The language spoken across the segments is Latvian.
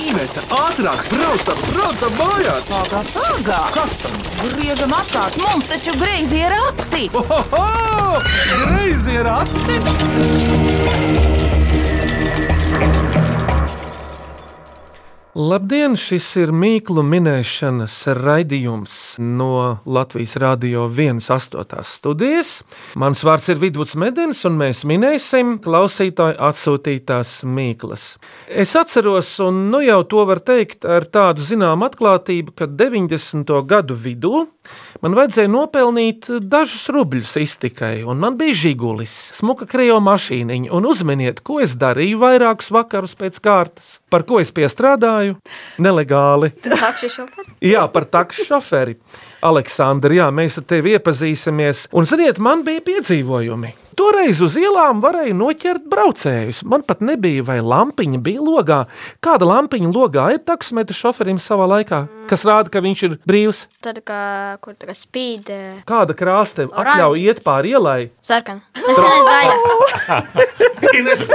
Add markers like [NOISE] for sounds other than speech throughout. Iveta, ātrāk, braucam, braucam mājās! Pagā, pagā! Kas tam? Griežam apkārt, mums taču greizi ir rati! Ohoho! Greizi ir rati! Labdien! Šis ir mīklu minēšanas raidījums no Latvijas Rādio 1,8 studijas. Mans vārds ir Vidvuds Medens, un mēs minēsim klausītāju atsūtītās mīklas. Es atceros, un nu jau to var teikt ar tādu zināmu atklātību, ka 90. gadu vidū man vajadzēja nopelnīt dažus rubļus iztikai, un man bija žigulis, smuka krijo mašīniņa, un uzmaniet, ko es darīju vairākus vakarus pēc kārtas, par ko es piestrādāju nelegāli. Pakšu šoferi. Jā, par takšu šoferi. Aleksandra, jā, mēs ar tevi iepazīsimies. Un, ziniet, man bija piedzīvojumi. Toreiz uz ielām varēja noķert braucējus. Man pat nebija, vai lampiņa bija logā. Kāda lampiņa logā ir taksometra šoferim savā laikā, kas rāda, ka viņš ir brīvs? Tad, kā, kur tā kā spīd eh, Kāda krāsa tev Oranž. atļauj iet pāri ielai? [GASPS] sarkana. Tas ir zaļa. Ines.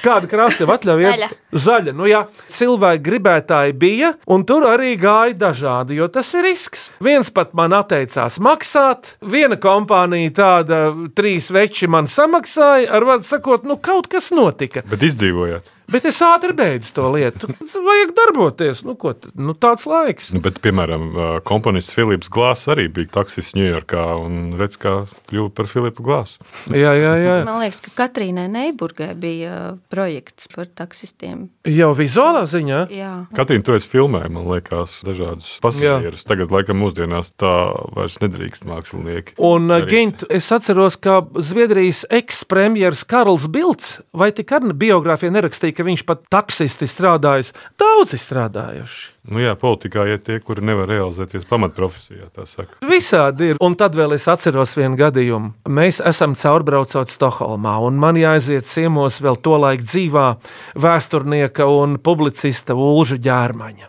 Kāda krāsa tev atļauj? iet? Zaļa. Zaļa. Nu, jā, cilvēki gribētāji bija, un tur arī gāja dažādi, jo tas ir risks. Viens pat man atteicās maksāt, viena kompānija tāda trīs veči man samaksāja, ar vārdu sakot, nu kaut kas notika. Bet izdzīvojāt. Bet es ātri beidzu to lietu. Vajag darboties, nu ko, tad, nu tāds laiks. Nu, bet, piemēram, ā, komponists Filips Glāss arī bija taksists Ņujorkā un redz, kā kļuva par Filipu Glāsu. Jā, jā, jā. Man liekas, ka Katrīnai Neiburgai bija uh, projekts par taksistiem. Jau vizuālā ziņā. Jā, Katrīna, tu esi filmējis, man liekas, dažādus pasažierus. Tagad, laikam, mūsdienās tā vairs nedrīkst mākslinieki. Un, eh, darīt. Gint, es atceros, ka Zviedrijas ekspremjerministrs Karls Bilds vai tik arī biogrāfija nerakstīja, ka viņš pat taksisti strādājis. Daudzi strādājuši. Nu, jā, politikā ir tie, kuri nevar realizēties pamatprofesijā, tā saka. Visādi ir. Un tad vēl es atceros vienu gadījumu. Mēs esam caurbraucot Stokholmā, un man jāaiziet ciemos vēl to laiku dzīvā vēsturnieka un publicista Ulža ģērmaņa.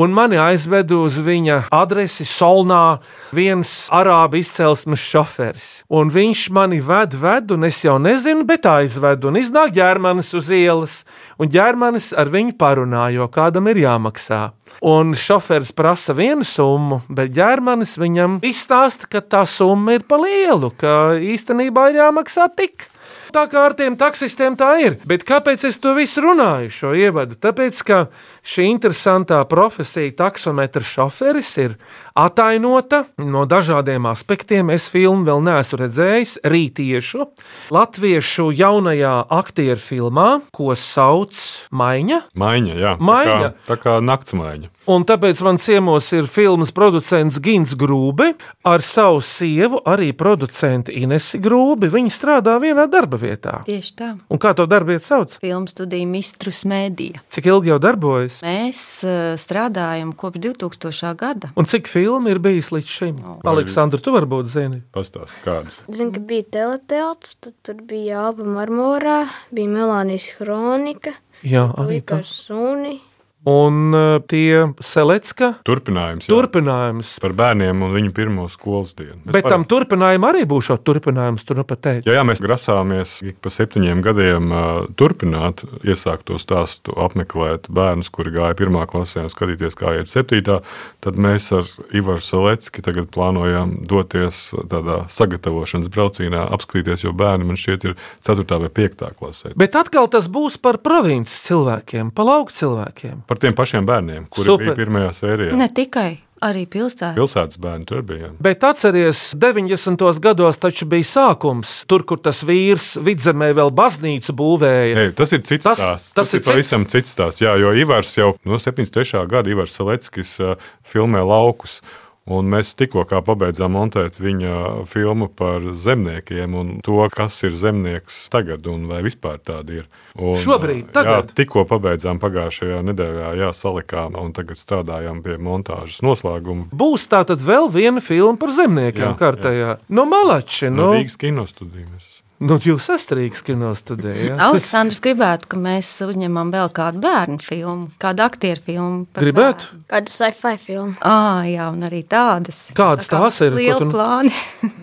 Un mani aizveda uz viņa adresi Solnā viens arābu izcelsmes šoferis. Un viņš mani ved, ved, un es jau nezinu, bet aizvedu. Un iznāk ģērmanis uz ielas, un ģērmanis ar viņu parunā, jo kādam ir jāmaksā. Un šoferis prasa vienu summu, bet ģērmanis viņam izstāsta, ka tā summa ir pa lielu, ka īstenībā ir jāmaksā tik. Tā kā ar tiem taksistiem tā ir. Bet kāpēc es to visu runāju, šo ievadu? Tāpēc, ka šī interesantā profesija, taksometra šoferis, ir atainota no dažādiem aspektiem. Es filmu vēl neesmu redzējis, rītiešu, latviešu jaunajā aktieru filmā, ko sauc Maiņa. Maiņa, jā. Maiņa. Tā kā, tā kā naktsmaiņa. Un tāpēc man ciemos ir filmas producents Gins Grūbi ar savu sievu, arī producentu Inesi Grūbi. Viņi strādā vienā darba vietā. tieši tā. Un kā to darbiet sauc? Filmu studija Mistrus Mēdija. Cik ilgi jau darbojas? Mēs uh, strādājam kopš 2000. gada. Un cik filmu ir bijis līdz šim? Aleksandra, tu varbūt zini. Pastāst, kādas. Zinu, ka bija teletelts, tad tur bija Alba Marmorā, bija Melānijas kronika, Jā, arī bija tā. par suni. Un uh, tie Selecka Turpinājums. jā. turpinājums. Par bērniem un viņu pirmo skolas dienu. Mēs Bet parasti- tam turpinājumam arī būs šāds turpinājums, tur nu pat teikt. Jā, jā, mēs grasāmies ik pa septiņiem gadiem ā, turpināt iesākto stāstu, apmeklēt bērnus, kuri gāja pirmā klasē un skatīties, kā iet septītā. Tad mēs ar Ivaru Salecki tagad plānojam doties tādā sagatavošanas braucienā, apskatīties, jo bērni man šķiet ir ceturtā vai piektā klasē. Bet atkal tas būs par provinces cilvēkiem, par lauku cilvēkiem. Par tiem pašiem bērniem, kuri Super. Super. bija pirmajā sērijā. Ne tikai, arī pilsētā. Pilsētas bērni tur bija. jā. Bet atcerieties, 90. gados taču bija sākums, tur, kur tas vīrs vidzemē vēl baznīcu būvēja. Ei, tas ir cits Tas- tas stāsts. Tas, tas ir ir pavisam cits stāsts. Jā, jo Ivars jau no 73. gada Ivars Leckis uh, filmē laukus. Un mēs tikko kā pabeidzām montēt viņa filmu par zemniekiem un to, kas ir zemnieks tagad un vai vispār tāda ir. Un, Šobrīd, uh, tagad? Jā, tikko pabeidzām pagājušajā nedēļā, jā, salikām un tagad strādājam pie montāžas noslēguma. Būs tā tad vēl viena filma par zemniekiem Jā, kārtējā. No malači, no, No Rīgas kinostudijas. nu, jūs esat Rīgas kinos tad, jā. Aleksandrs gribētu, ka mēs uzņemam vēl kādu bērnu filmu, kādu aktieru filmu. par Gribētu? bērnu. Kāda sci-fi [LAUGHS] filma? Ā, jā, un arī tādas. Kādas Tā kā tās ir? Ko Liela tu- nu- plāni.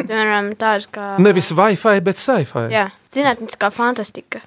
Piemēram, tādas kā. Nevis Wi-Fi, bet sci-fi. Jā, zinātniskā fantastika.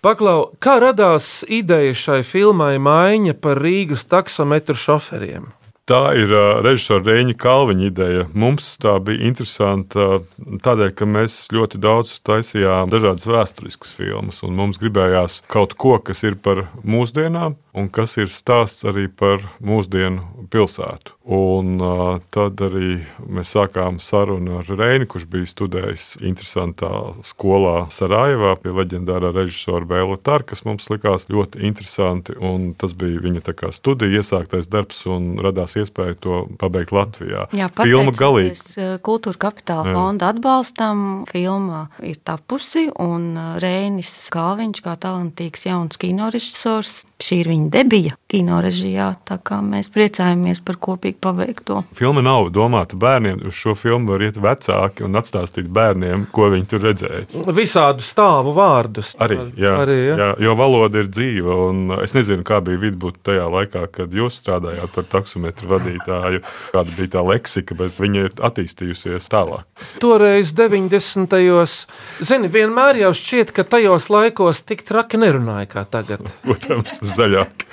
Paklau, kā radās ideja šai filmai maiņa par Rīgas taksometru šoferiem? Tā ir ā, režisora Rēņa Kalniņa ideja. Mums tā bija interesanta tādēļ, ka mēs ļoti daudz taisījām dažādas vēsturiskas filmas, un mums gribējās kaut ko, kas ir par mūsdienām, un kas ir stāsts arī par mūsdienu pilsētu. Un ā, tad arī mēs sākām sarunu ar Rēni, kurš bija studējis interesantā skolā Sarajevā pie leģendārā režisora Bēla Tāra, kas mums likās ļoti interesanti, un tas bija viņa tā kā studija iesāktais darbs, un radās iespēja to pabeigt Latvijā. Jā, Filma galīgi. pateicoties eh, Kultūra kapitāla Jā. fonda atbalstam, filmā ir tapusi un eh, Rēnis Kalviņš, kā talantīgs jauns kinorežisors, šī ir viņa debija kinorežijā, tā kā mēs priecājamies par kopīgi pabeigto. Filma nav domāta bērniem. Uz šo filmu var iet vecāki un atstāstīt bērniem, ko viņi tur redzēja. Visādu stāvu vārdus. Arī, jā, Arī ja? jā, jo valoda ir dzīva. un, uh, Es nezinu, kā bija vidusdaļa tajā laikā, kad jūs strādājāt par taksometru vadītāju. Kāda bija tā leksika, bet viņa ir attīstījusies tālāk. [LAUGHS] Toreiz 90. gados, zini, vienmēr jau šķiet, ka tajos laikos tik traki nerunāja kā tagad. [LAUGHS] Protams, zaļāk.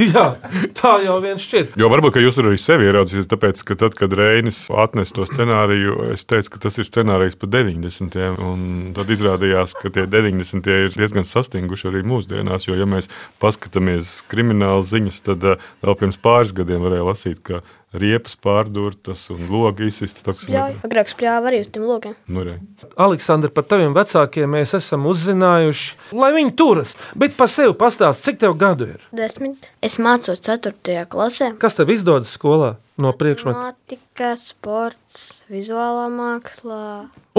Jā, tā jau vien šķiet. Jo varbūt ka jūs tur arī sevi ieraudzījāt, tāpēc, ka tad, kad Reinis atnesa to scenāriju, es teicu, ka tas ir scenārijs par 90. un tad izrādījās, ka tie 90. ir diezgan sastinguši arī mūsdienās. Jo, ja mēs paskatāmies kriminālu ziņas, tad eh, vēl pirms pāris gadiem varēja lasīt, ka riepas pārdurtas un logi izsista Pļāva. taksometru. Agrāk spļāva arī uz tiem logiem. Nu, re. Aleksandra, par taviem vecākiem mēs esam uzzinājuši, lai viņi turas, bet pa sevi pastāst, cik tev gadu ir. Desmit. Es mācos 4. klasē. Kas tev izdodas skolā no priekšmetu? Matemātikā, sports, vizuālā mākslā.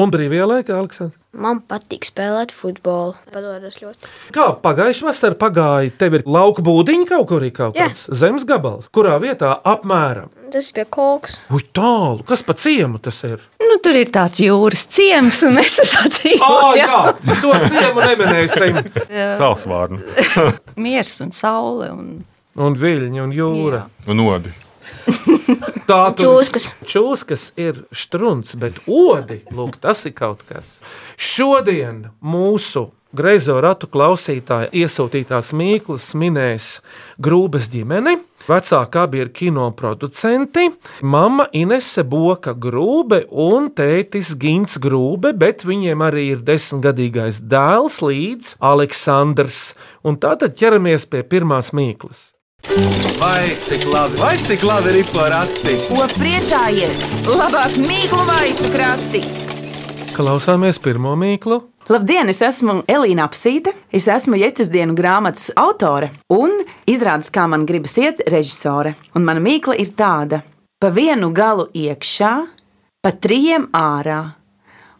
Un brīvajā laikā, Aleksandra. Man patīk spēlēt futbolu. Padodas ļoti. Kā pagājušā vasarā pagāja, tev ir lauka būdiņa kaut kur ir kaut Jā. kāds zemes gabals, kurā vietā apmēram. Tas bija koks. Ui, tālu, kas pa ciemu tas ir? Nu, tur ir tāds jūras ciems, un mēs esam Ah, dzīvojuši jā, to ciemu neminēsim. [LAUGHS] Sālsvārni miers un saule. Un... Un viļņi un jūra. un odi. Jā. Tā tur Čūskas. Čūskas ir strunts, bet odi, lūk, tas ir kaut kas. Šodien mūsu greizo ratu klausītāja iesūtītās mīklas minēs Grūbes ģimeni. Vecākā bija kinoproducenti, mama Inese Boka Grūbe un tētis Gins Grūbe, bet viņiem arī ir desmitgadīgais dēls līdz Aleksandrs. Un tātad ķeramies pie pirmās mīklas. Vai cik labi, vai cik labi ir porakti? Ko priecājies? Labāk mīklu maisu krati! Klausāmies pirmo mīklu. Labdien, es esmu Elīna Apsīte, es esmu Jēzus dienas grāmatas autore un izrādes, kā man gribas iet, režisore. Un mana mīkla ir tāda: pa vienu galu iekšā, pa trijiem ārā.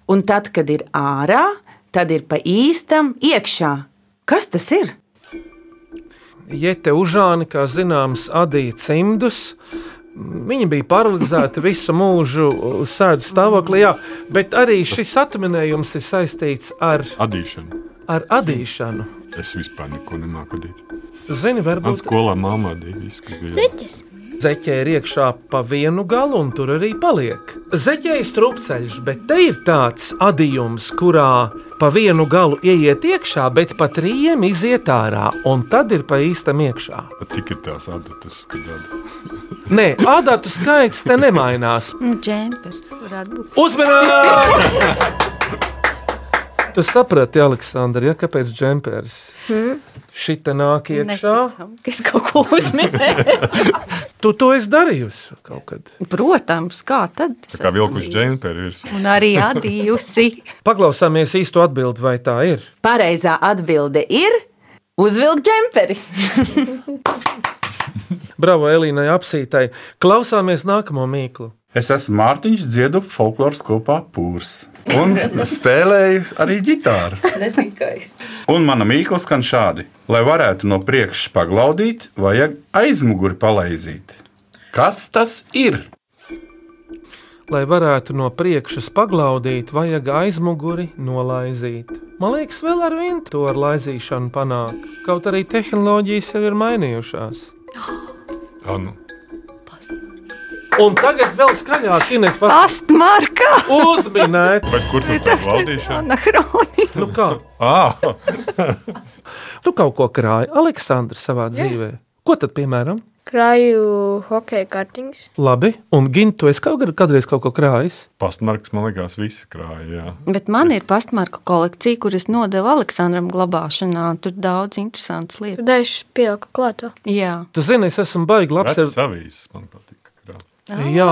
Un tad, kad ir ārā, tad ir pa īstam iekšā. Kas tas ir? Jete Užāni, kā zināms, adīja cimdus. Viņa bija paralizēta visu mūžu, uh, sēdu stāvoklī, jā, bet arī šis atminējums ir saistīts ar, Adīšana. ar adīšanu. Es vispār neko nemāku adīt. Zini, Man varbūt skolā māmā adīja viss, kas bija. zeķē ir iekšā pa vienu galu, un tur arī paliek. Zeķē ir strupceļš, bet te ir tāds adījums, kurā pa vienu galu ieiet iekšā, bet pa trījiem iziet ārā, un tad ir pa īstam iekšā. Cik ir tās adatas, kad adata? Nē, adatu skaits te nemainās. Nu, džempers, tas varētu būt. Uzmanības! Tu saprati, Aleksandra, ja, kāpēc džempers? Hmm? Šī te nāk iekšā. Neticam, ka Es kaut ko uzminēju. [LAUGHS] Tu to esi darījusi kaut kad. Protams, kā tad? Es Tā kā esmu vilkuši bijusi. džemperi virsū. Un arī adījusi. Paklausāmies īsto atbildi, vai tā ir. Pareizā atbilde ir uzvilkt džemperi. Bravo Elīnai apsītai. Klausāmies nākamo mīklu. Es esmu Mārtiņš, dziedu folkloras kopā pūrs. Un spēlēju arī ģitāru. [LAUGHS] Ne tikai. Un mana mīkla skan šādi: lai varētu no priekšas paglaudīt, vajag aizmuguri palaizīt. Kas tas ir? Lai varētu no priekšas paglaudīt, vajag aizmuguri nolaizīt. Man liekas, vēl ar vienu to ar laizīšanu panāk. Kaut arī tehnoloģijas jau ir mainījušās. Tā, nu. Un tagad vēl skaļāk, Inês, pastāstiet, Astmarka! uzminēt, Bet kur tur tā [LAUGHS] valdīšana? Anahronika! nu kā Ah, tu kaut ko krāji Aleksandra savā dzīvē. Ko tad, piemēram, Krāju hokeja kartiņas. labi, un Gint, tu esi kaut kad- kādreiz kaut ko krājis? pastmarks man liekas visi krāja. Bet man ir pastmarka kolekcija, kuras nodevu Aleksandram glabāšanā. Tur daudz interesantas lietas. Tad es pieliku klāto. Jā, Tu zini, es esmu baigi labs Vecs ar. avīzes man patīk. krāt. Jā,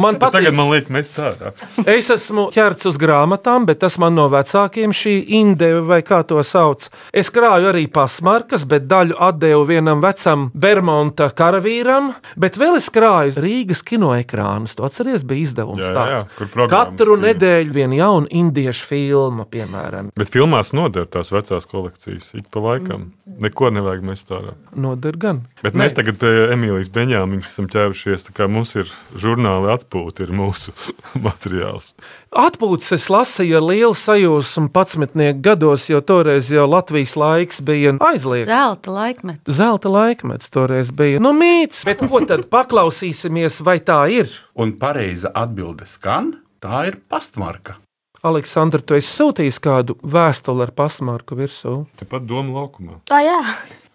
man Bet patīk. [LAUGHS] Tagad man liek mest ārā. Es esmu ķerts uz grāmatām, bet tas man no vecākiem šī indeve vai kā to sauc. Es krāju arī pasmarkas, bet daļu atdevu vienam vecam Bermuda karavīram, bet vēl es krāju Rīgas kinoekrānus. Tu atceries, bija izdevums Jā, jā, jā, tāds. kur programmas Katru bija. nedēļu vienu jaunu indiešu filmu, piemēram, Bet filmās noder tās vecās kolekcijas ik pa laikam. Neko nevajag mest ārā. noder gan. Bet mēs tagad pie Emīlijas Beņāmiņas esam ķērušies. tā kā Mums ir žurnāli atpūta, ir mūsu [LAUGHS] materiāls. Atpūtas es lasīju ar lielu sajūsmu 11 gados, jo toreiz jau Latvijas laiks bija aizliegts. zelta laikmets. Zelta laikmets toreiz bija. Nu, mīts, bet ko tad paklausīsimies, vai tā ir? Un pareiza atbilde skan, tā ir pastmarka. Aleksandra, tu esi sūtījis kādu vēstuli ar pasmārku virsū. Tepat doma laukumā. Tā jā,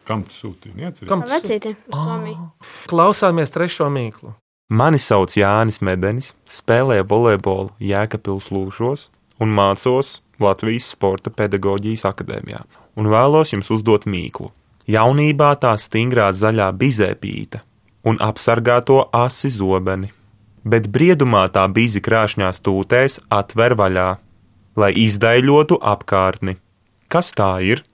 Kam tu sūtīji? Neatceries? Kam tas ir? vecīti. Somija. Klausāmies trešo mīklu. Mani sauc Jānis Medenis, spēlēju volejbolu Jēkabils Lūšos un mācos Latvijas Sporta pedagoģijas akadēmijā. Un vēlos jums uzdot mīklu. Jaunībā tā stingrā zaļā bizēpīta un apsargāto asi zobeni, bet briedumā tā bizi krāšņās tūtēs atver vaļā, lai izdaļotu apkārtni. Kas tā ir?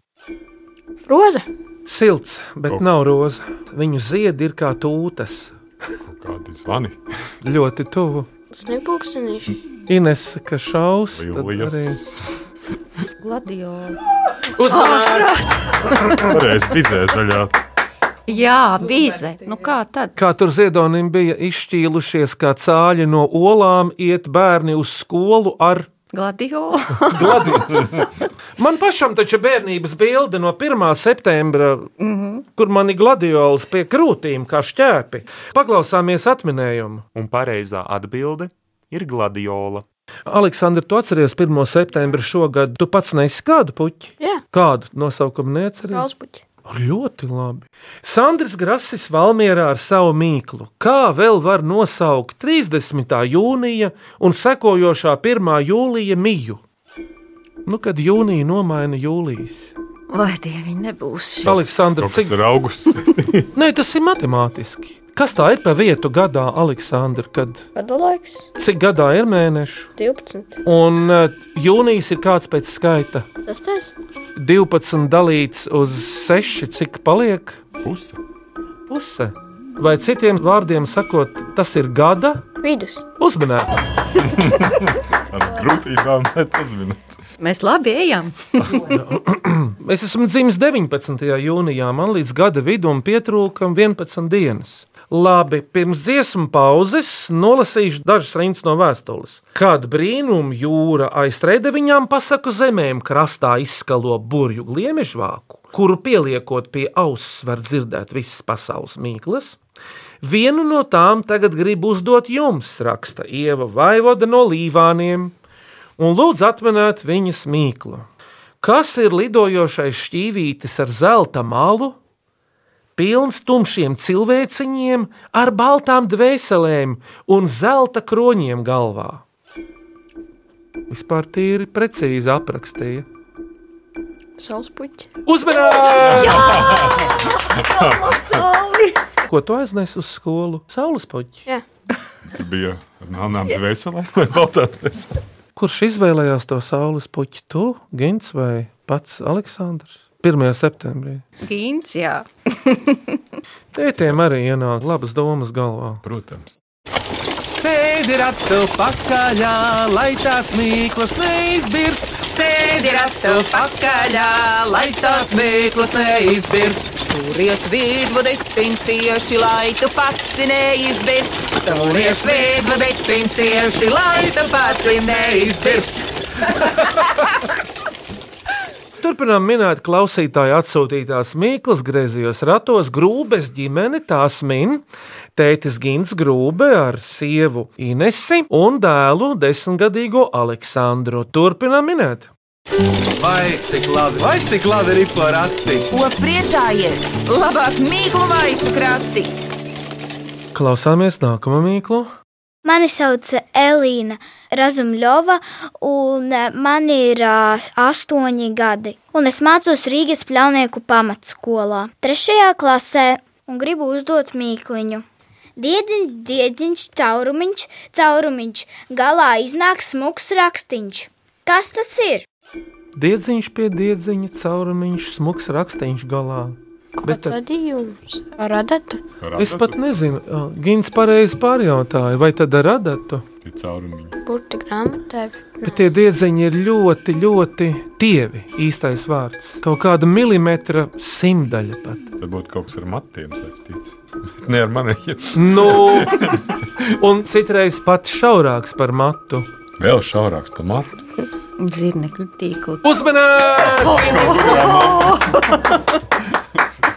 Roza. Silts, bet nav roza. Viņu ziedi ir kā tūtas. Kādi zvani? Ļoti tuvu. Snegpulkstenīši. Ines, kas šaus, tad arī Lielas. Gladiola. uzmanīgi. Pareiz bizē zaļā. Jā, bīze. Nu kā tad? Kā tur ziedonim bija izšķīlušies, kā cāļi no olām iet bērni uz skolu ar Gladiola. Gladi. [LAUGHS] Man pašam taču ir bērnības bilde no 1. septembra, mm -hmm. kur man ir gladiolis pie krūtīm, kā šķēpi. Paklausāmies atminējumu. Un pareizā atbilde ir gladiola. Aleksandra, tu atceries 1. septembra šogad, tu pats neesi kādu puķi? Jā. Kādu nosaukumu neatceries? Saulspuķi. Ļoti labi. Sandrs Grasis Valmjerā ar savu mīklu. Kā vēl var nosaukt 30. jūnija un sekojošā 1. jūlija miju? Nu, kad jūnija nomaina jūlijas. [LAUGHS] Vai dievi nebūs šī? Aleksandra, Kaut kas cik ir augusts. [LAUGHS] Nē, tas ir matemātiski. Kas tā ir pa vietu gadā, Aleksandra, kad Gada laiks. cik gadā ir mēnešu? 12. Un eh, jūnijas ir kāds pēc skaita 6. 12 dalīts uz 6, cik paliek Puse. puse. Vai citiem vārdiem sakot, tas ir gada Vidus. uzmanība. Ar grūtībām atzīmēt. Mēs labi ejam. Es esmu dzimis 19. jūnijā, man līdz gada vidum pietrūka 11 dienas. Labi, pirms dziesmu pauzes nolasīšu dažas rindas no vēstules. Kad brīnum jūra aiz trešdaļām pasaku zemēm krastā izskalo burbuļu gliemežvāku, kuru pieliekot pie auss var dzirdēt visas pasaules mīklas, vienu no tām tagad gribu uzdot jums, raksta Ieva Vaivoda no Līvāniem, un lūdzu atminēt viņas mīklu. Kas ir lidojošais šķīvītis ar zelta malu, pilns tumšiem cilvēciņiem, ar baltām dvēselēm un zelta kroņiem galvā? Vispār tīri precīzi aprakstīja. Saulspuķi. Uzmanīgi! Ko tu aiznes uz skolu? Saules poķi. Jā. Tur bija ar melnām [LAUGHS] dvēselēm vai baltām dvēselēm. Kurš izvēlējās to saules poķi? Tu, Gins vai pats Aleksandrs? 1. septembrī. Gīns, jā. Tētiem arī ienāk labas domas galvā. Protams. Sēdi ratu pakaļā, lai tās mīklas neizdirst. Sēdi ratu pakaļā, lai tās mīklas neizbirst. Turies vīdvadīt pincieši, lai tu pats neizbirst. Turies vīdvadīt pincieši, lai tu pats neizbirst. Turpinām minēt klausītāju atsūtītās Mīklas griezījos ratos. Grūbes ģimene tās min tētis Gins Grūbe ar sievu Inesi un dēlu desmitgadīgo Aleksandru. Turpinām minēt. Vai cik labi, vai cik labi ir porakti? Ko priecājies? Labāk mīklu maisu krati! Klausāmies nākamo mīklu. Mani sauc Elīna Razumļova, un eh, man ir ā, astoņi gadi. Un es mācos Rīgas pļaunieku pamatskolā, trešajā klasē, un gribu uzdot mīkliņu. Diedziņš, diedziņš, caurumiņš, caurumiņš, galā iznāk smuks rakstīns. Kas tas ir? Diedziņš pie diedziņa, caurumiņš, smuks rakstīns galā. Bet tad- Radījums. Radat? es pat nezinu, ā, Gins pareizi pārjautāja, vai tad ar adatu? Caurumiņi. Burti grāmatā. Bet tie diedziņi ir ļoti, ļoti tievi. Īstais vārds. Kaut kāda milimetra simtaļa pat. Tad būtu kaut kas ar matiem saistīts. [LAUGHS] Bet Ne ar maniem. Nu, un citreiz pat šaurāks par matu. [LAUGHS] Vēl šaurāks par matu. Zirnekļu tīkli. Uzmanīgs!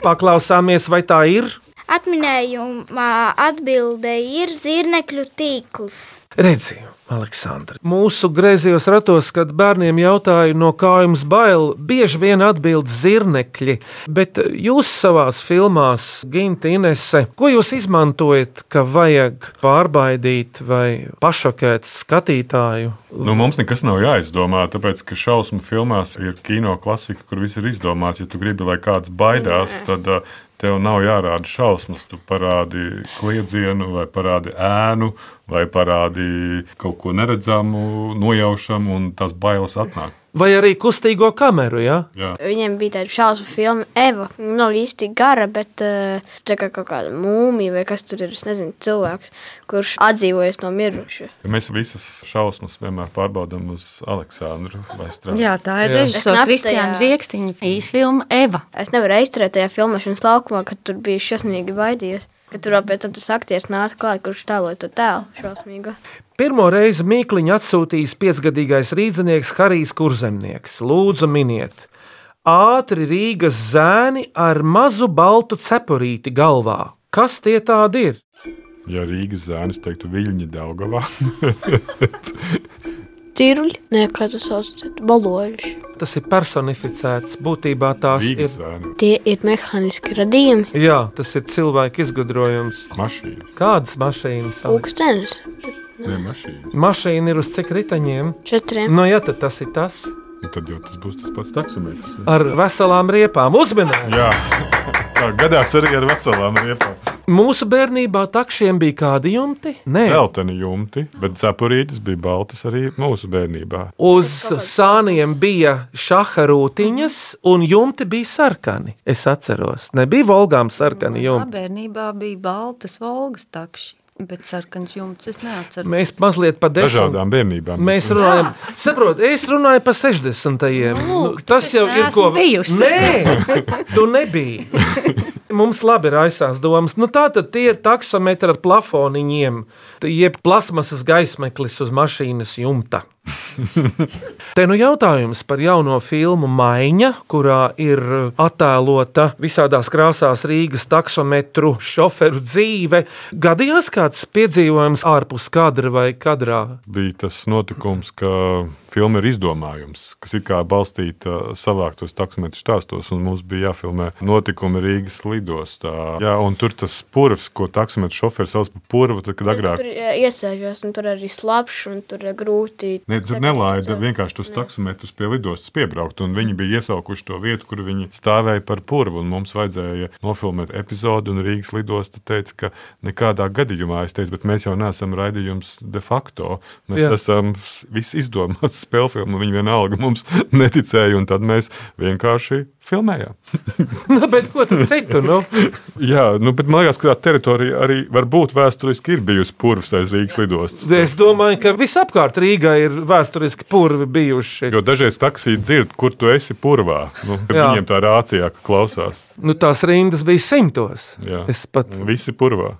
Paklausāmies, vai tā ir. Atminējumā atbilde ir zirnekļu tīkls. Redzīju, Aleksandra. Mūsu griezījos ratos, kad bērniem jautāja, no kā jums bail, bieži vien atbild zirnekļi. Bet jūs savās filmās, Ginte, Inese, ko jūs izmantojat, ka vajag pārbaidīt vai pašokēt skatītāju? Nu, mums nekas nav jāizdomā, tāpēc, ka šausmu filmās ir kino klasika, kur viss ir izdomāts. Ja tu gribi, lai kāds baidās, tad ā, tev nav jārāda šausmas. Tu parādi kliedzienu, vai parādi ēnu, vai parādi kaut ko neredzamu, nojaušamu, un tās bailes atnāk. Vai arī kustīgo kameru, ja? Jā. Viņiem bija tāda šausmu filma, Eva. Viņa nav īsti gara, bet eh, tā kā kaut kāda mūmija vai kas tur ir. Es nezinu, cilvēks, kurš atdzīvojas no mirušā. Ja mēs visas šausmas vienmēr pārbaudām uz Aleksandru vai Strānu. Jā, tā ir Jā. režisora Knapsajā. Kristiāna Rieksniņa īsfilma Eva. Es nevarēju izturēt tajā filmēšanas laukumā, kad tur bija šausmīgi baidījies. Kad tur vēl pēc tam tas aktieris nāca klāt, kurš tēloja to tēlu šausmīgu. Pirmo reizi mīkliņu atsūtījis piecgadīgais rīznieks Harijs Kurzemnieks. Lūdzu, miniet, ātri Rīgas zēni ar mazu baltu cepurīti galvā. Kas tie tādi ir? Ja Rīgas zēns teiktu viļņi Daugavā, Cirļi, nē, kā tas sauc, baloži. Tas ir personificēts. Būtībā tās [LAUGHS] ir. Rīgas zēni Tie ir mehāniski radījumi. Jā, tas ir cilvēka izgudrojums. mašīna. Kādas mašīnas? Alek? Pūkstens Ne, mašīna. Mašīna ir uz cik riteņiem? četriem. Nu, jā, tad tas ir tas. Un Nu tad jau tas būs tas pats taksometrs. ne? Ar veselām riepām. Uzmanīgi! Jā, tā gadās arī ar veselām riepām. Mūsu bērnībā takšiem bija kādi jumti? Nē, Zeltaini jumti, bet cepurītis bija baltas arī mūsu bērnībā. Uz sāniem bija šaha rūtiņas, un jumti bija sarkani. Es atceros, nebija volgām sarkani Manā jumti. bērnībā bija baltas volgas takši, bet sarkans jumts es neatceros. Mēs mazliet pa desmit. Dažādām bērnībām. Mēs runājam, saprotiet, es runāju par 60. Nu, tas jau ir neesmu ko bijusi. Nē, tu nebija. Mums labi ir aizsās domas. Nu, tā tad tie ir taksometri ar plafoniņiem, tie jeb plasmasas gaismeklis uz mašīnas jumta. Te nu jautājums par jauno filmu Maiņa, kurā ir uh, attēlota visādās krāsās Rīgas taksometru šoferu dzīve. Gadījās kāds piedzīvojums ārpus kadra vai kadrā? Bija tas notikums, ka filma ir izdomājums, kas ir kā balstīta uh, savāktos taksometru stāstos, un mums bija jāfilmē notikumi Rīgas lidostā. Jā, un tur tas purvs, ko taksometru šoferis sauc par purvu, tad, kad Nu, agrāk Tur eh, iesēžos, un tur arī slapjš, un tur eh, grūti. Ne, tur nelaida vienkārši tos taksometrus pie lidostas piebraukt, un viņi bija iesaukuši to vietu, kur viņi stāvēja par purvu. un Mums vajadzēja nofilmēt epizodi, un Rīgas lidosta teica, ka nekādā gadījumā, es teicu, bet mēs jau neesam raidījums de facto. Mēs Jā. Jā. esam s- viss izdomāts spēļu filmu, viņi vienalga mums [LAUGHS] neticēja, un tad mēs vienkārši filmējām. [LAUGHS] Nu, bet ko tad citu? Nu? Jā, nu, bet man liekas, ka tā teritorija arī var būt vēsturiski ir bijusi purvs aiz Rīgas lidostas. Es domāju, ka visapkārt Rīgā ir vēsturiski purvi bijuši. Jo dažreiz taksī dzird, kur tu esi purvā. Nu, kad Jā. viņiem tā rācijā ka klausās. Nu, tās rindas bija simtos. Jā. Es pat Visi purvā.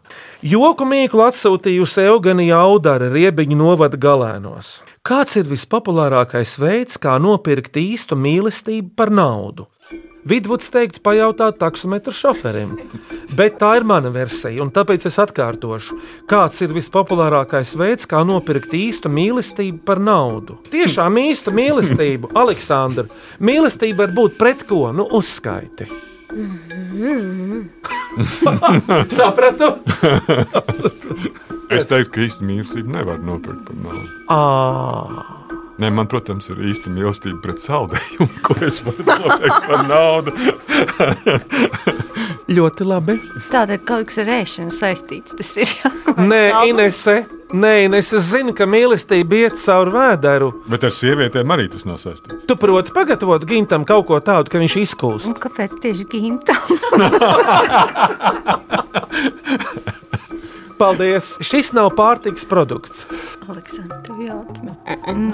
Joku mīklu atsūtījusi Eugenija Audara riebiņu novada galēnos. Kāds ir vispopulārākais veids, kā nopirkt īstu mīlestību par naudu? Vidvuds teikt, pajautāt taksometra šoferim. Bet tā ir mana versija, un tāpēc es atkārtošu, kāds ir vispopulārākais veids, kā nopirkt īstu mīlestību par naudu. Tiešām īstu mīlestību, Aleksandra. Mīlestība var būt pret ko? Nu, uzskaiti. [LAUGHS] Sapratu? Es teiktu, ka īsta mīlestība nevar nopirkt par naudu. Ah. Nē, man, protams, ir īsta mīlestība pret saldējumu, [LAUGHS] ko es varu nopirkt par naudu. Ļoti labi. Tātad kaut kas ar rēšanu saistīts. Tas ir jā. Nē, Inese, nē, Inese, es zinu, ka mīlestība iet cauri vēderu. Bet ar sievietēm arī tas nav saistīts. Tu proti pagatavot gintam kaut ko tādu, ka viņš izkūst. Un kāpēc tieši gimtam? Paldies! Šis nav pārtiks produkts. Aleksandra, tev jautājums.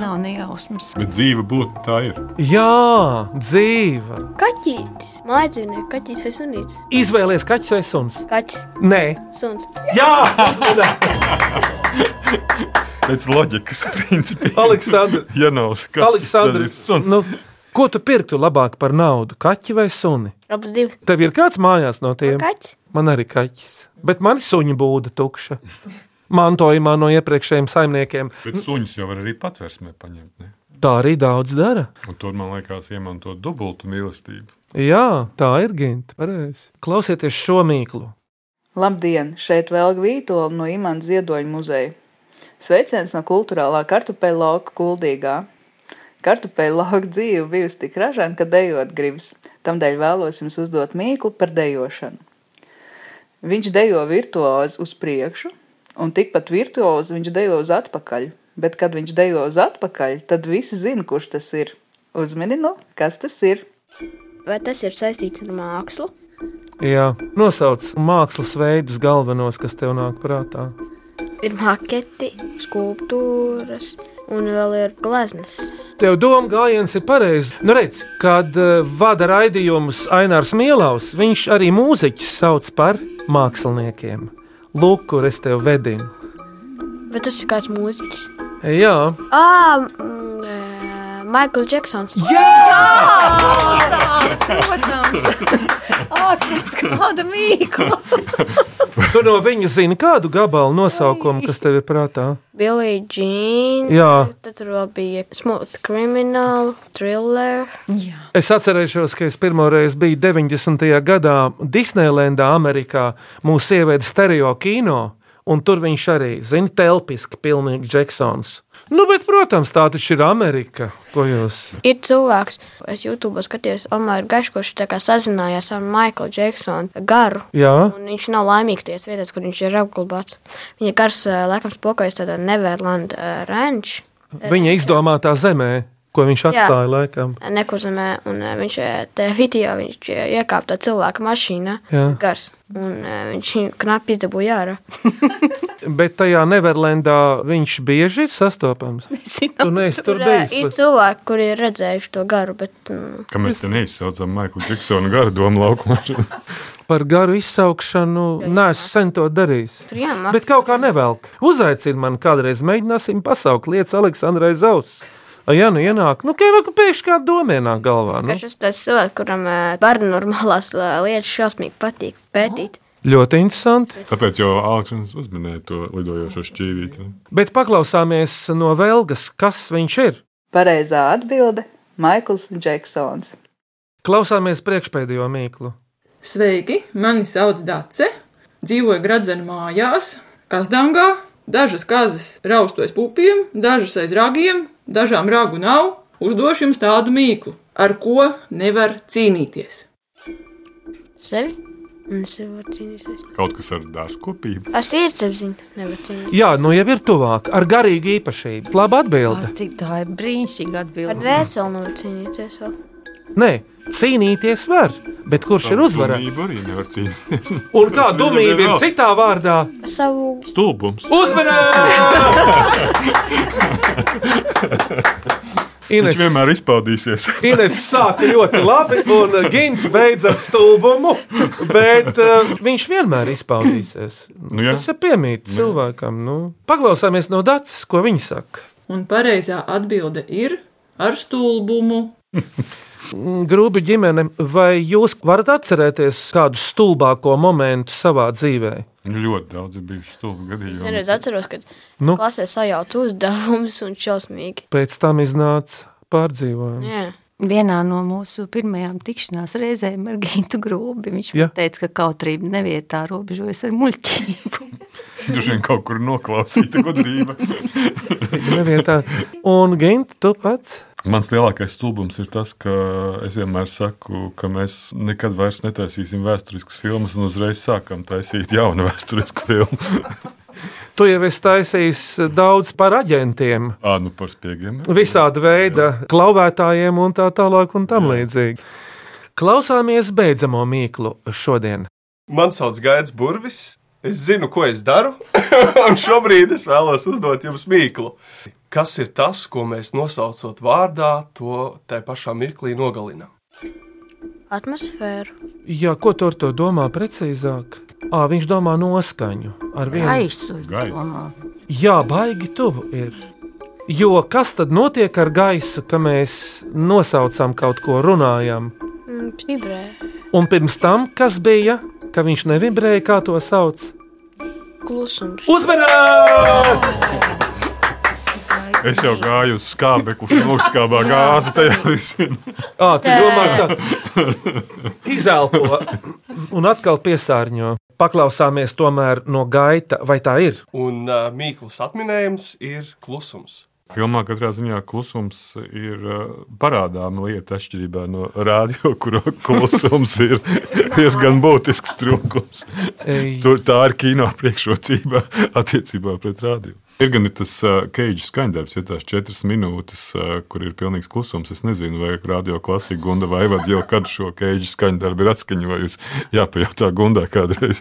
Nav nejausmas. Bet dzīve būtu tā ir. Jā, dzīva. Kaķītis. Mājdzīvnieks, kaķītis vai sunītis? Izvēlies kaķis vai suns? Kaķis, Nē, suns. jā, uzmanīgi! Pēc loģikas [LAUGHS] principiem. Aleksandra. [LAUGHS] Ja nav skatīts, Aleksandra, nu, ko tu pirktu labāk par naudu? Kaķi vai suni? Abas divas. Tev ir kāds mājās no tiem? Kaķis. Man arī kaķis. Bet man suņa būda tukša. Mantojumā no iepriekšējiem saimniekiem. Bet suņus jau var arī patvērsmē paņemt. Ne? Tā arī daudz dara. Un tur, man liekas, iemanto dubultu mīlestību. Jā, tā ir gimta. Pareizi. Klausieties šo mīklu. Labdien! Šeit vēl Gvītola no Imants Ziedoņa muzeja. Sveiciens no kultūrālā kartupeļa lauka kuldīgā. Kartupeļa lauka dzīve bijusi tik ražana, ka dejot gribas. Tamdēļ vēlos jums uzdot mīklu par dejošanu. Viņš dejo virtuozi uz priekšu, un tikpat virtuozi viņš dejo uz atpakaļ. Bet, kad viņš dejo uz atpakaļ, tad visi zina, kurš tas ir. Uzmini, nu, kas tas ir? Vai tas ir saistīts ar mākslu? Jā, nosauc mākslas veidus galvenos, kas tev nāk prātā. Ir maketi, skulptūras un vēl ir gleznas. Tev doma gājiens ir pareizs. Nu, redz, kad eh, vada raidījumus Ainārs Mielaus, viņš arī mūziķus sauc par māksliniekiem. Lūk, kur es tev vedinu. Vai tas ir kāds mūziķis? Jā, Ah, mm, ē, Maikls Džeksons. Protams, atrādz kāda mīkla. tu no viņa zini kādu gabalu nosaukumu, kas tev ir prātā. Billy Jean. Jā. Tad tur vēl bija Smooth Criminal, Thriller. Es atcerēšos, ka es pirmo reizi biju 90. gadā Disneylandā, Amerikā. Mūsu ievieda stereo kino, un tur viņš arī zina telpiski, pilnīgi Džeksons. Nu, bet, protams, tā taču ir Amerika. Ko jūs? Ir cilvēks, es YouTube skatījos, Omaru Gašu, kurš tā kā sazinājās ar Maiklu Džeksonu garu. Jā, Un viņš nav laimīgs tajās vietās, kur viņš ir apglabāts. Viņa gars, ē, laikam, spokojas tādā Neverland ē, ranch. viņa izdomātā zemē, ko viņš atstāja laikam. ē, Nekuzemē, un ē, viņš ē, tajā video viņš ē, iekāpa tā cilvēka mašīnā. Jā. Gars. Un ē, viņš viņu knapi izdabūja ārā. Bet tajā Neverlendā viņš bieži ir sastopams. Tu neesi tur Tur ē, ir bijis. cilvēki, kuri ir redzējuši to garu, bet mm, Kā mēs te neizsaucam Maiklu Džiksonu garu domu laukumā. [LAUGHS] Par garu izsaukšanu neesmu sen to darījis. tur jāmāk. Ah. Bet kaut kā nevelk. Uzaicini mani kādreiz, mēģināsim pasaukt lietas Aleksandrai Zausai. Ja nu ienāk, nu, kā, nu ka pēkšņi kāda doma ienāk galvā. Nu. Viņš ir tas cilvēks, kuram eh, paranormālās eh, lietas šausmīgi patīk pētīt. Ļoti interesanti. Tāpēc jau Aleksandrs uzminēja to lidojošo šķīvīti. ne? Bet paklausāmies no Velgas, kas viņš ir. Pareizā atbilde - Maikls Džeksons. Klausāmies priekšpēdējo mīklu. Sveiki, mani sauc Dace. Dzīvoju Gradzena mājās, Kazdangā. Dažas kazas raustojas pupiem, dažas aiz ragiem, dažām ragu nav. Uzdošu jums tādu mīklu, ar ko nevar cīnīties. Sevi? Nē, sevi var cīnīties. Kaut kas ar dārzkopību. Ar sirdsapziņu nevar cīnīties. Jā, nu jau ir tuvāk, ar garīgu īpašību. Labi atbildi. Cik tā ir brīnišķīga Ar Oh. atbilde. dvēseli nevar cīnīties. vēl. Nē, cīnīties var, bet kurš ir uzvarētājs? Domība arī nevar cīnīties. Un kā Viņam domība ir vēl citā vārdā? Savu [LAUGHS] Stulbums. Uzvarētājs! Ines. [LAUGHS] Viņš vienmēr izpaudīsies. Ines sāka ļoti labi, un uh, Gins beidz ar stulbumu, bet uh, viņš vienmēr izpaudīsies. Nu jā. Tas ir piemīts cilvēkam. Nu. Paklausāmies no Dācis, ko viņa saka. Un pareizā atbilde ir ar [LAUGHS] stulbumu. Mm, Grūbi ģimene, vai jūs varat atcerēties kādu stulbāko momentu savā dzīvē? [LAUGHS] Ļoti daudz ir bijuši stulbi Es gadījumi. nereiz atceros, ka Nu? nu? klasē sajauta uzdevumus un šausmīgi. Pēc tam iznāca pārdzīvojums. Jā. Vienā no mūsu pirmajām tikšanās reizēm ar Gītu Grūbi viņš Jā. man teica, ka kautrība nevietā robežojas ar muļķību. Viņš vien kaut kur noklausīta gudrība. Nevietā. Un Gint, tu pats? Mans lielākais stulbums ir tas, ka es vienmēr saku, ka mēs nekad vairs netaisīsim vēsturiskas filmas un uzreiz sākam taisīt jaunu [LAUGHS] vēsturisku filmu. Tu jau esi taisījis daudz par aģentiem. Ā, nu par spiegiem. Visāda veida klauvētājiem un tā tālāk un tam līdzīgi. Klausāmies beidzamo mīklu šodien. Mani sauc Gaits Burvis. Es zinu, ko es daru, [LAUGHS] un šobrīd es vēlos uzdot jums mīklu. Kas ir tas, ko mēs nosaucot vārdā, to tajā pašā mirklī nogalinām? Atmosfēru. Jā, ko tu ar to domā precīzāk? À, viņš domā noskaņu ar vienu Gaisu domā. Jā, baigi tuvu ir. Jo kas tad notiek ar gaisu, ka mēs nosaucam kaut ko, runājam? Mm, Vibrē. Un pirms tam, kas bija, ka viņš nevibrēja, kā to sauc? Klusums. Uzmanības! Es jau gāju uz skābekli, [LAUGHS] jau augstskābā gāzi tajā visā. Ā, tu domā, ka izelpo un atkal piesārņo. Paklausāmies tomēr no gaita, vai tā ir? Un uh, mīklas atminējums ir klusums. Filmā katrā ziņā klusums ir ā, parādāma lieta, atšķirībā no radio, kur [LAUGHS] klusums ir diezgan būtisks trūkums. Ei. Tur tā ir kino priekšrocība [LAUGHS] attiecībā pret radio. Ir gan ir tas keģis skaņdarbs, ja tās četras minūtes, ā, kur ir pilnīgs klusums. Es nezinu, vai radio klasika Gunda vai Vada jau kad šo keģis skaņdarbu ir atskaņojusi. Jā, pajautā Gundā kādreiz.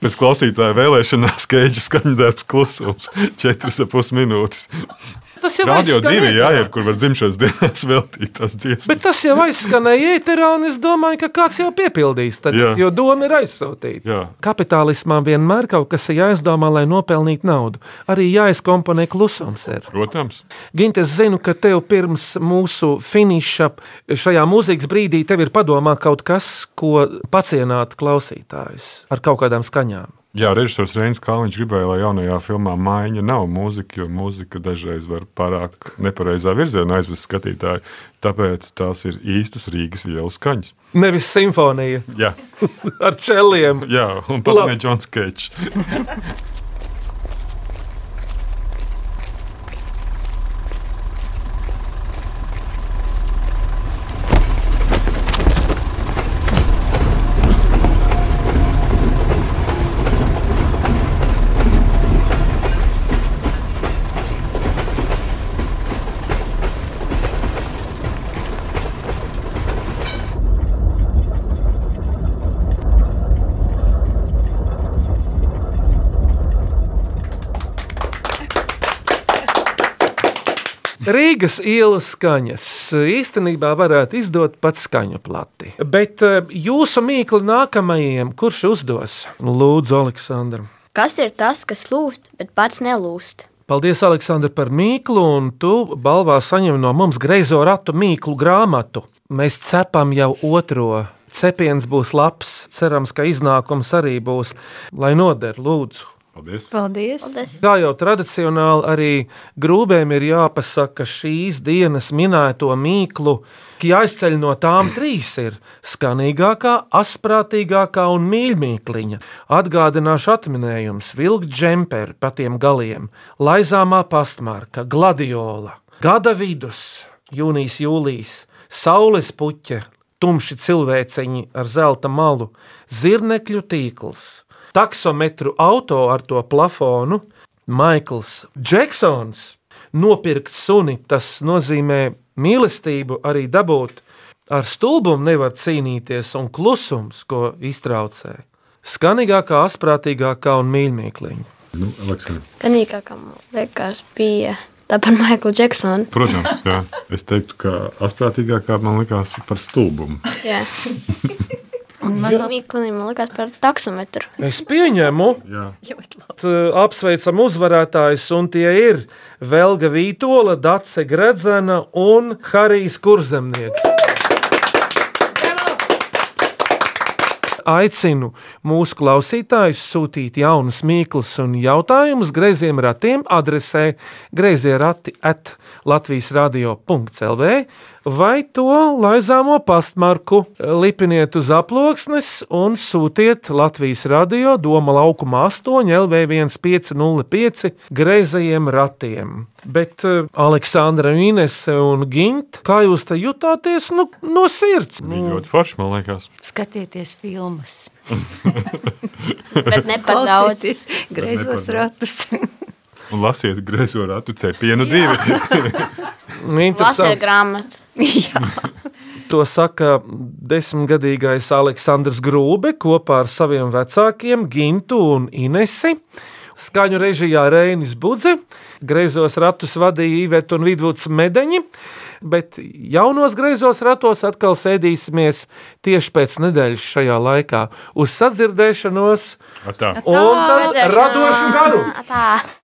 Pēc klausītāja vēlēšanās keģis skaņdarbs klusums - četras ap pus minūtes. Tas [LAUGHS] jau Radio aizskan divi, jā, ēterā. ir, kur var dzimšanas dienās [LAUGHS] veltīt tās dziesmas. Bet tas jau aizskanēja ēterā, un es domāju, ka kāds jau piepildīs, tad, Jā. jo doma ir aizsūtīta. Jā. Kapitālismā vienmēr kaut kas ir jāizdomā, lai nopelnītu naudu. Arī jāizkomponē klusums. Ir. Protams, Gint, es zinu, ka tev pirms mūsu finīša šajā mūzikas brīdī tev ir padomā kaut kas, ko pacienāt klausītājus ar kaut kādām skaņām. jā, režisors Reņģis Kalniņš gribēja, lai jaunajā filmā maiņa nav mūzika, jo mūzika dažreiz var pārāk nepareizā virzienā aizvest skatītāju. Tāpēc tās ir īstas Rīgas ielas skaņas. Nevis simfonija Jā, ar čeliem. jā [LAUGHS] un pat Labi. ne Džons Kečs. Rīgas ielas skaņas īstenībā varētu izdot pats skaņu plati. Bet eh, jūsu mīklu nākamajiem, kurš uzdos? Lūdzu, Aleksandra. Kas ir tas, kas lūst, bet pats nelūst? Paldies, Aleksandra, par mīklu, un tu balvā saņem no mums greizo ratu mīklu grāmatu. Mēs cepam jau otro. Cepiens būs labs, cerams, ka iznākums arī būs, lai noder, lūdzu. Paldies! Paldies! Kā jau tradicionāli arī grūbēm ir jāpasaka šīs dienas minēto mīklu, ka jāizceļ no tām trīs ir skanīgākā, asprātīgākā un mīļākā. Atgādināšu atminējums, vilkt džemperi pa tiem galiem, laizāmā pastmarka, gladiola, gada vidus, jūnijas, jūlijas, saules puķe, tumši cilvēciņi ar zelta malu, zirnekļu tīkls, taksometru auto ar to plafonu, Maikls Džeksons. Nopirkt suni, tas nozīmē mīlestību arī dabūt. Ar stulbumu nevar cīnīties, un klusums, ko iztraucē, skanīgākā, asprātīgākā un mīļākā. Nu, Aleksandra. Ganīgākā man liekas bija tā par Maiklu Džeksonu. Protams, jā. es teiktu, ka astprātīgākā man likās par stulbumu. Jā. Un man Mīklīnam likās par taksometru. Es pieņemu, ka apsveicam uzvarētājus, un tie ir Velga Vītola, Dace Gredzena un Harijs Kurzemnieks. Aicinu mūsu klausītājus sūtīt jaunus mīklus un jautājumus greiziem ratiem adresē greizierati at Latvijas radio.clv vai to laizāmo pastmarku. Lipiniet uz aploksnes un sūtiet Latvijas radio Doma laukuma 8 LV1505 greizajiem ratiem. Bet eh, Aleksandra, Inese un Gint, kā jūs te jutāties nu, no sirds? Nu, Bija ļoti forši, man liekas. Skatieties filmas. Bet ne par daudz. Klausieties Ne Greizos par ratus. Un lasiet griezo ratu cepienu divi. Lasīja Interesanti. grāmatu. To saka desmitgadīgais Aleksandrs Grūbe kopā ar saviem vecākiem Gintu un Inesi. Skaņu režijā Rēnis Budze, greizos ratus vadīja Iveta un Vidvuds Medeņi, bet jaunos greizos ratos atkal sēdīsimies tieši pēc nedēļas šajā laikā uz sadzirdēšanos [LAUGHS] Atā. un tad radošu garu! Tā.